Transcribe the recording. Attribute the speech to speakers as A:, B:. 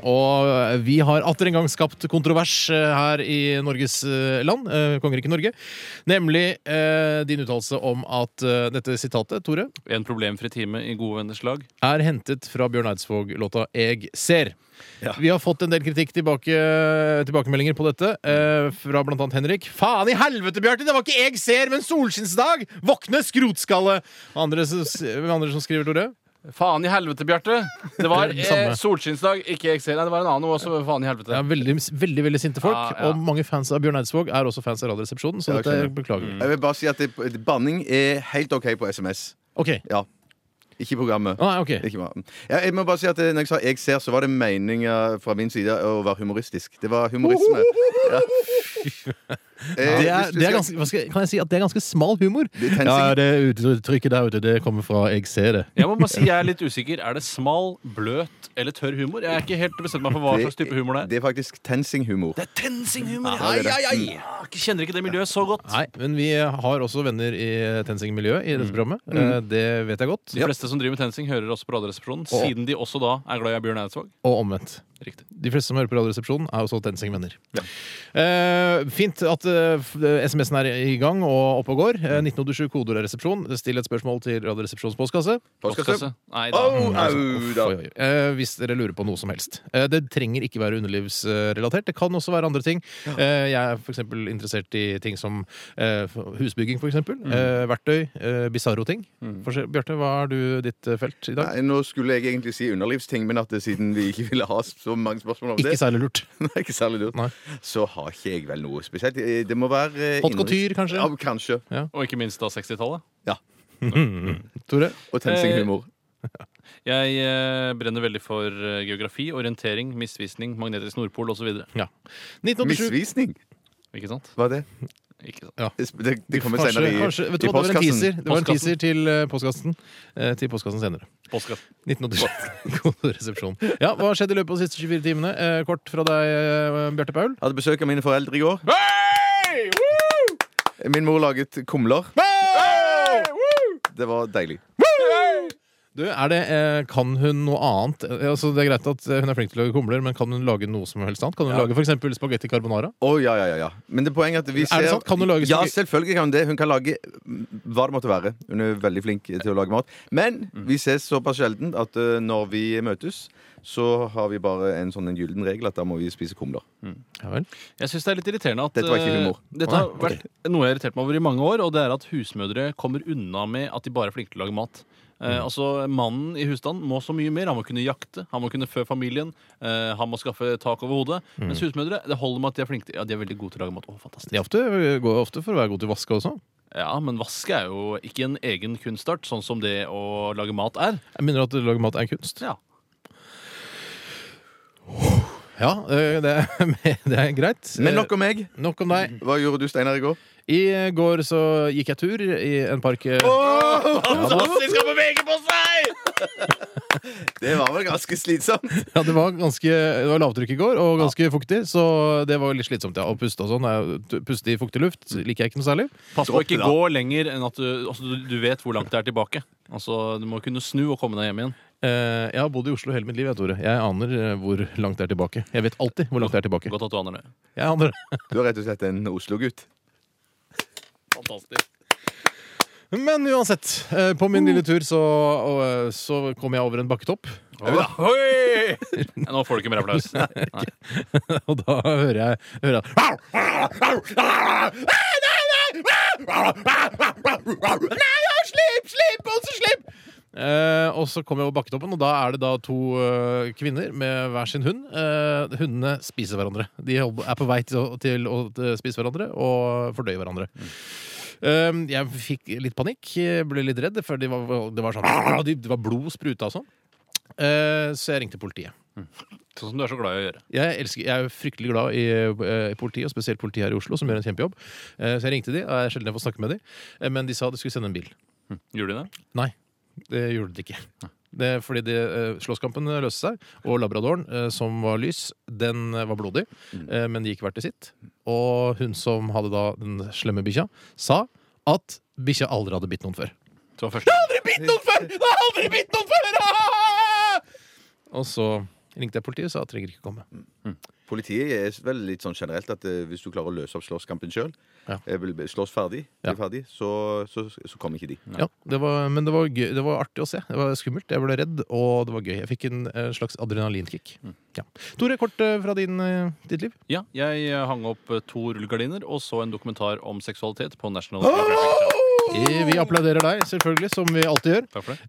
A: Og eh, vi har atter en gang skapt kontrovers eh, her i Norges eh, land, eh, kongeriket Norge. Nemlig eh, din uttalelse om at eh, dette sitatet, Tore,
B: En problemfri time i gode venners lag.
A: er hentet fra Bjørn Eidsvåg-låta 'Eg ser'.
B: Ja.
A: Vi har fått en del kritikk tilbake, tilbakemeldinger på dette, eh, fra blant annet Henrik. Faen i helvete, Bjarte! Det var ikke 'Eg ser', men 'Solskinnsdag'! Våkne, skrotskalle! Og Andre, som- hvem andre som skriver, Tore?
B: Faen i helvete, Bjarte! Det var
A: Det er det samme.
B: eh, solskinnsdag, ikke XL. Nei, det var en annen også. Faen i helvete.
A: Det er veldig, veldig veldig sinte folk.
B: Ja, ja.
A: Og mange fans av Bjørn Eidsvåg er også fans av Radioresepsjonen, så
C: Ja,
A: dette
C: jeg skjønner.
A: beklager vi.
B: Mm.
C: Jeg vil bare si at det, banning er helt OK på SMS.
A: Ok.
C: Ja. Ikke i programmet.
A: Ah, nei, ok.
C: Ikke bare. Ja, jeg må bare si at eh, når jeg sa 'jeg ser', så var det meninga fra min side å være humoristisk. Det var humorisme. Ja. Eh,
A: Det
C: hvis
A: er,
C: du
A: det er
C: skal-
A: ganske, hva skal, kan jeg si at det er ganske smal humor?
C: Det tennes ikke.
A: det uttrykket der ute, det kommer fra 'jeg ser det'.
B: Jeg må bare si jeg er litt usikker. Er det smal, bløt eller tørr humor? Jeg er ikke helt bestemt meg for hva slags type humor det er.
C: Det er faktisk tensing-humor.
B: Det er tensing-humor!
C: Ja, det er det.
B: Jeg kjenner Ah, ikke det miljøet så godt.
A: Nei, men vi har også venner i TenSing-miljøet i
C: Mm.
A: dette programmet. Eh, Det vet jeg godt.
B: De fleste som driver med tensing, hører også på Radioresepsjonen, siden de også da er glad i Bjørn Eidsvåg.
A: Og omvendt.
B: Riktig.
A: De fleste som hører på Radioresepsjonen, er også TenSing-venner. Eh, fint at eh, f- eh, SMS-en er i gang og oppe og går. Eh, 1987 kodeord er resepsjon. Still et spørsmål til Radioresepsjonens postkasse.
C: Postkasse.
B: Nei da.
C: Au, au, da.
A: Altså, Oi, oi. Eh, hvis dere lurer på noe som helst. Eh, det trenger ikke være underlivsrelatert. Det kan også være andre ting. Eh, jeg er f.eks. interessert i ting som eh, husbygging, f.eks.
C: Mm.
A: Eh, verktøy. Eh, Bisarro ting. Forskjell- Bjarte, hva er du ditt eh, felt i dag?
C: Nei, nå skulle jeg egentlig si underlivsting, men at det, siden vi ikke ville ha så mange spørsmål om
A: Ikke
C: det,
A: særlig lurt.
C: Nei, ikke særlig lurt,
A: Nei.
C: så har ikke jeg vel noe spesielt. Eh, Det må være eh,
A: Haute
C: innenriks-
A: couture, kanskje?
C: Ja, kanskje.
B: Og ikke minst da 60-tallet.
A: Tore?
C: Og
A: Eh,
C: tensing-humor.
B: Jeg eh, brenner veldig for eh, geografi, orientering, misvisning, magnetisk Nordpol osv.
A: Ja. 1987
C: Misvisning?
B: Ikke sant?
C: Hva er det?
B: Ikke sant?
C: Det, det, det kommer
A: Kanskje-
C: senere i,
A: kanskje- vet du
C: i
A: hva, Det var en teaser, det var en
B: Postkassen.
A: teaser til eh, postkassen. Eh, til postkassen senere.
B: Postkasse.
A: 1987. God resepsjon. Ja, hva har skjedd i løpet av de siste 24 timene? Eh, kort fra deg, eh, Bjarte Paul.
C: Jeg hadde besøk av mine foreldre i går. Min mor laget kumler. Det var deilig.
A: Du, er det, eh, Kan hun noe annet? Eh, Altså, det er greit at eh, Hun er flink til å lage kumler, men kan hun lage noe som helst annet? Kan hun lage for eksempel spagetti carbonara?
C: Å, ja, ja, ja, ja. Men det poenget er at vi ser
A: det sant? Kan hun lage
C: Ja,
A: spagetti-
C: selvfølgelig kan hun det. Hun kan lage hva det måtte være. Hun er veldig flink til å lage mat. Men
A: Mm.
C: vi ses såpass sjelden at eh, når vi møtes, så har vi bare en sånn en gyllen regel at da må vi spise kumler.
A: Ja vel.
B: Jeg syns det er litt irriterende at
C: Dette var ikke
B: eh,
C: humor.
B: Dette har vært noe jeg har irritert meg over i mange år, og det er at husmødre kommer unna med at de bare er flinke til å lage mat. Eh,
C: Mm.
B: altså, Mannen i husstanden må så mye mer. Han må kunne jakte, han må kunne fø familien, eh, han må skaffe tak over hodet.
C: Mm.
B: Mens husmødre, det holder med at de er flinke til Ja, de er veldig gode til å lage mat. Å, fantastisk.
A: De er ofte, går ofte for å være god til å vaske også.
B: Ja, men vaske er jo ikke en egen kunstart, sånn som det å lage mat er.
A: Jeg minner om at å lage mat er kunst.
B: Ja.
A: Ja, eh, det, er- det er greit.
C: Men
A: Eh,
C: nok om meg.
A: nok om deg.
C: Hva gjorde du, Steinar, i går?
A: I går så gikk jeg tur i en park. eh,
B: Fantastisk å bevege på seg!
C: Det var vel ganske slitsomt.
A: Ja, det var ganske Det var lavtrykk i går, og ganske fuktig, så det var litt slitsomt. Ja, å puste og sånn. eh, Puste i fuktig luft liker jeg ikke noe særlig.
B: Pass på å
C: Dropp
B: ikke
C: det, da.
B: gå lenger enn at du, altså, du, du vet hvor langt det er tilbake. Altså, Du må kunne snu og komme deg hjem igjen.
A: Eh, jeg har bodd i Oslo hele mitt liv, jeg, Tore. Jeg aner eh, hvor langt det er tilbake. Jeg vet alltid hvor langt det er tilbake.
B: Godt at du aner det.
A: Jeg aner det.
C: Du er rett og slett en Oslo-gutt.
B: Fantastisk.
A: Men uansett, eh, på min lille tur så, og, eh, så kom jeg over en bakketopp.
B: Oi! Nei, Nå får du ikke mer applaus. Nei.
A: Og da hører jeg, hører jeg Au! Au! Au! Nei, ja, slipp, slipp, og så slipp! Eh, og så kommer jeg over bakketoppen, og da er det da to eh, kvinner med hver sin hund. Eh, hundene spiser hverandre. De holder- er på vei til å, til å eh, spise hverandre og fordøye hverandre. Eh, jeg fikk litt panikk, eh, ble litt redd, for de var, det var sånn de- Det var blod spruta og sånn. Eh, så jeg ringte politiet.
B: Sånn som du er så glad i å gjøre.
A: Jeg, elsker, jeg er jo fryktelig glad i, eh, i politiet, og spesielt politiet her i Oslo, som gjør en kjempejobb. Eh, Så jeg ringte de, og jeg er sjelden jeg får snakke med de. Eh, Men de sa de skulle sende en bil.
B: Gjorde de det?
A: Nei, det gjorde de ikke. Det er fordi det, eh, Slåsskampen løste seg, og labradoren, eh, som var lys, den eh, var blodig, eh, men de gikk hvert til sitt. Og hun som hadde da den slemme bikkja, sa at bikkja aldri hadde bitt noen før.
B: Det var første.
A: Bitt noen før! Det har aldri bitt noen før! Og så Ringte jeg politiet, sa at trenger ikke komme.
C: Politiet er vel litt sånn generelt at eh, hvis du klarer å løse opp slåsskampen sjøl,
A: Ja.
C: slåss ferdig, bli
A: Ja.
C: ferdig så, så, så kommer ikke de.
A: Ja, det var, men det var, gøy, det var artig å se. Det var skummelt, jeg ble redd, og det var gøy. Jeg fikk en eh, slags adrenalinkick. Ja. Tore, kort eh, fra din, eh, ditt liv.
B: Ja, jeg eh, hang opp eh, to rullegardiner og så en dokumentar om seksualitet på National Geographic.
A: Eh, Vi applauderer deg, selvfølgelig, som vi alltid gjør.
B: Takk for det.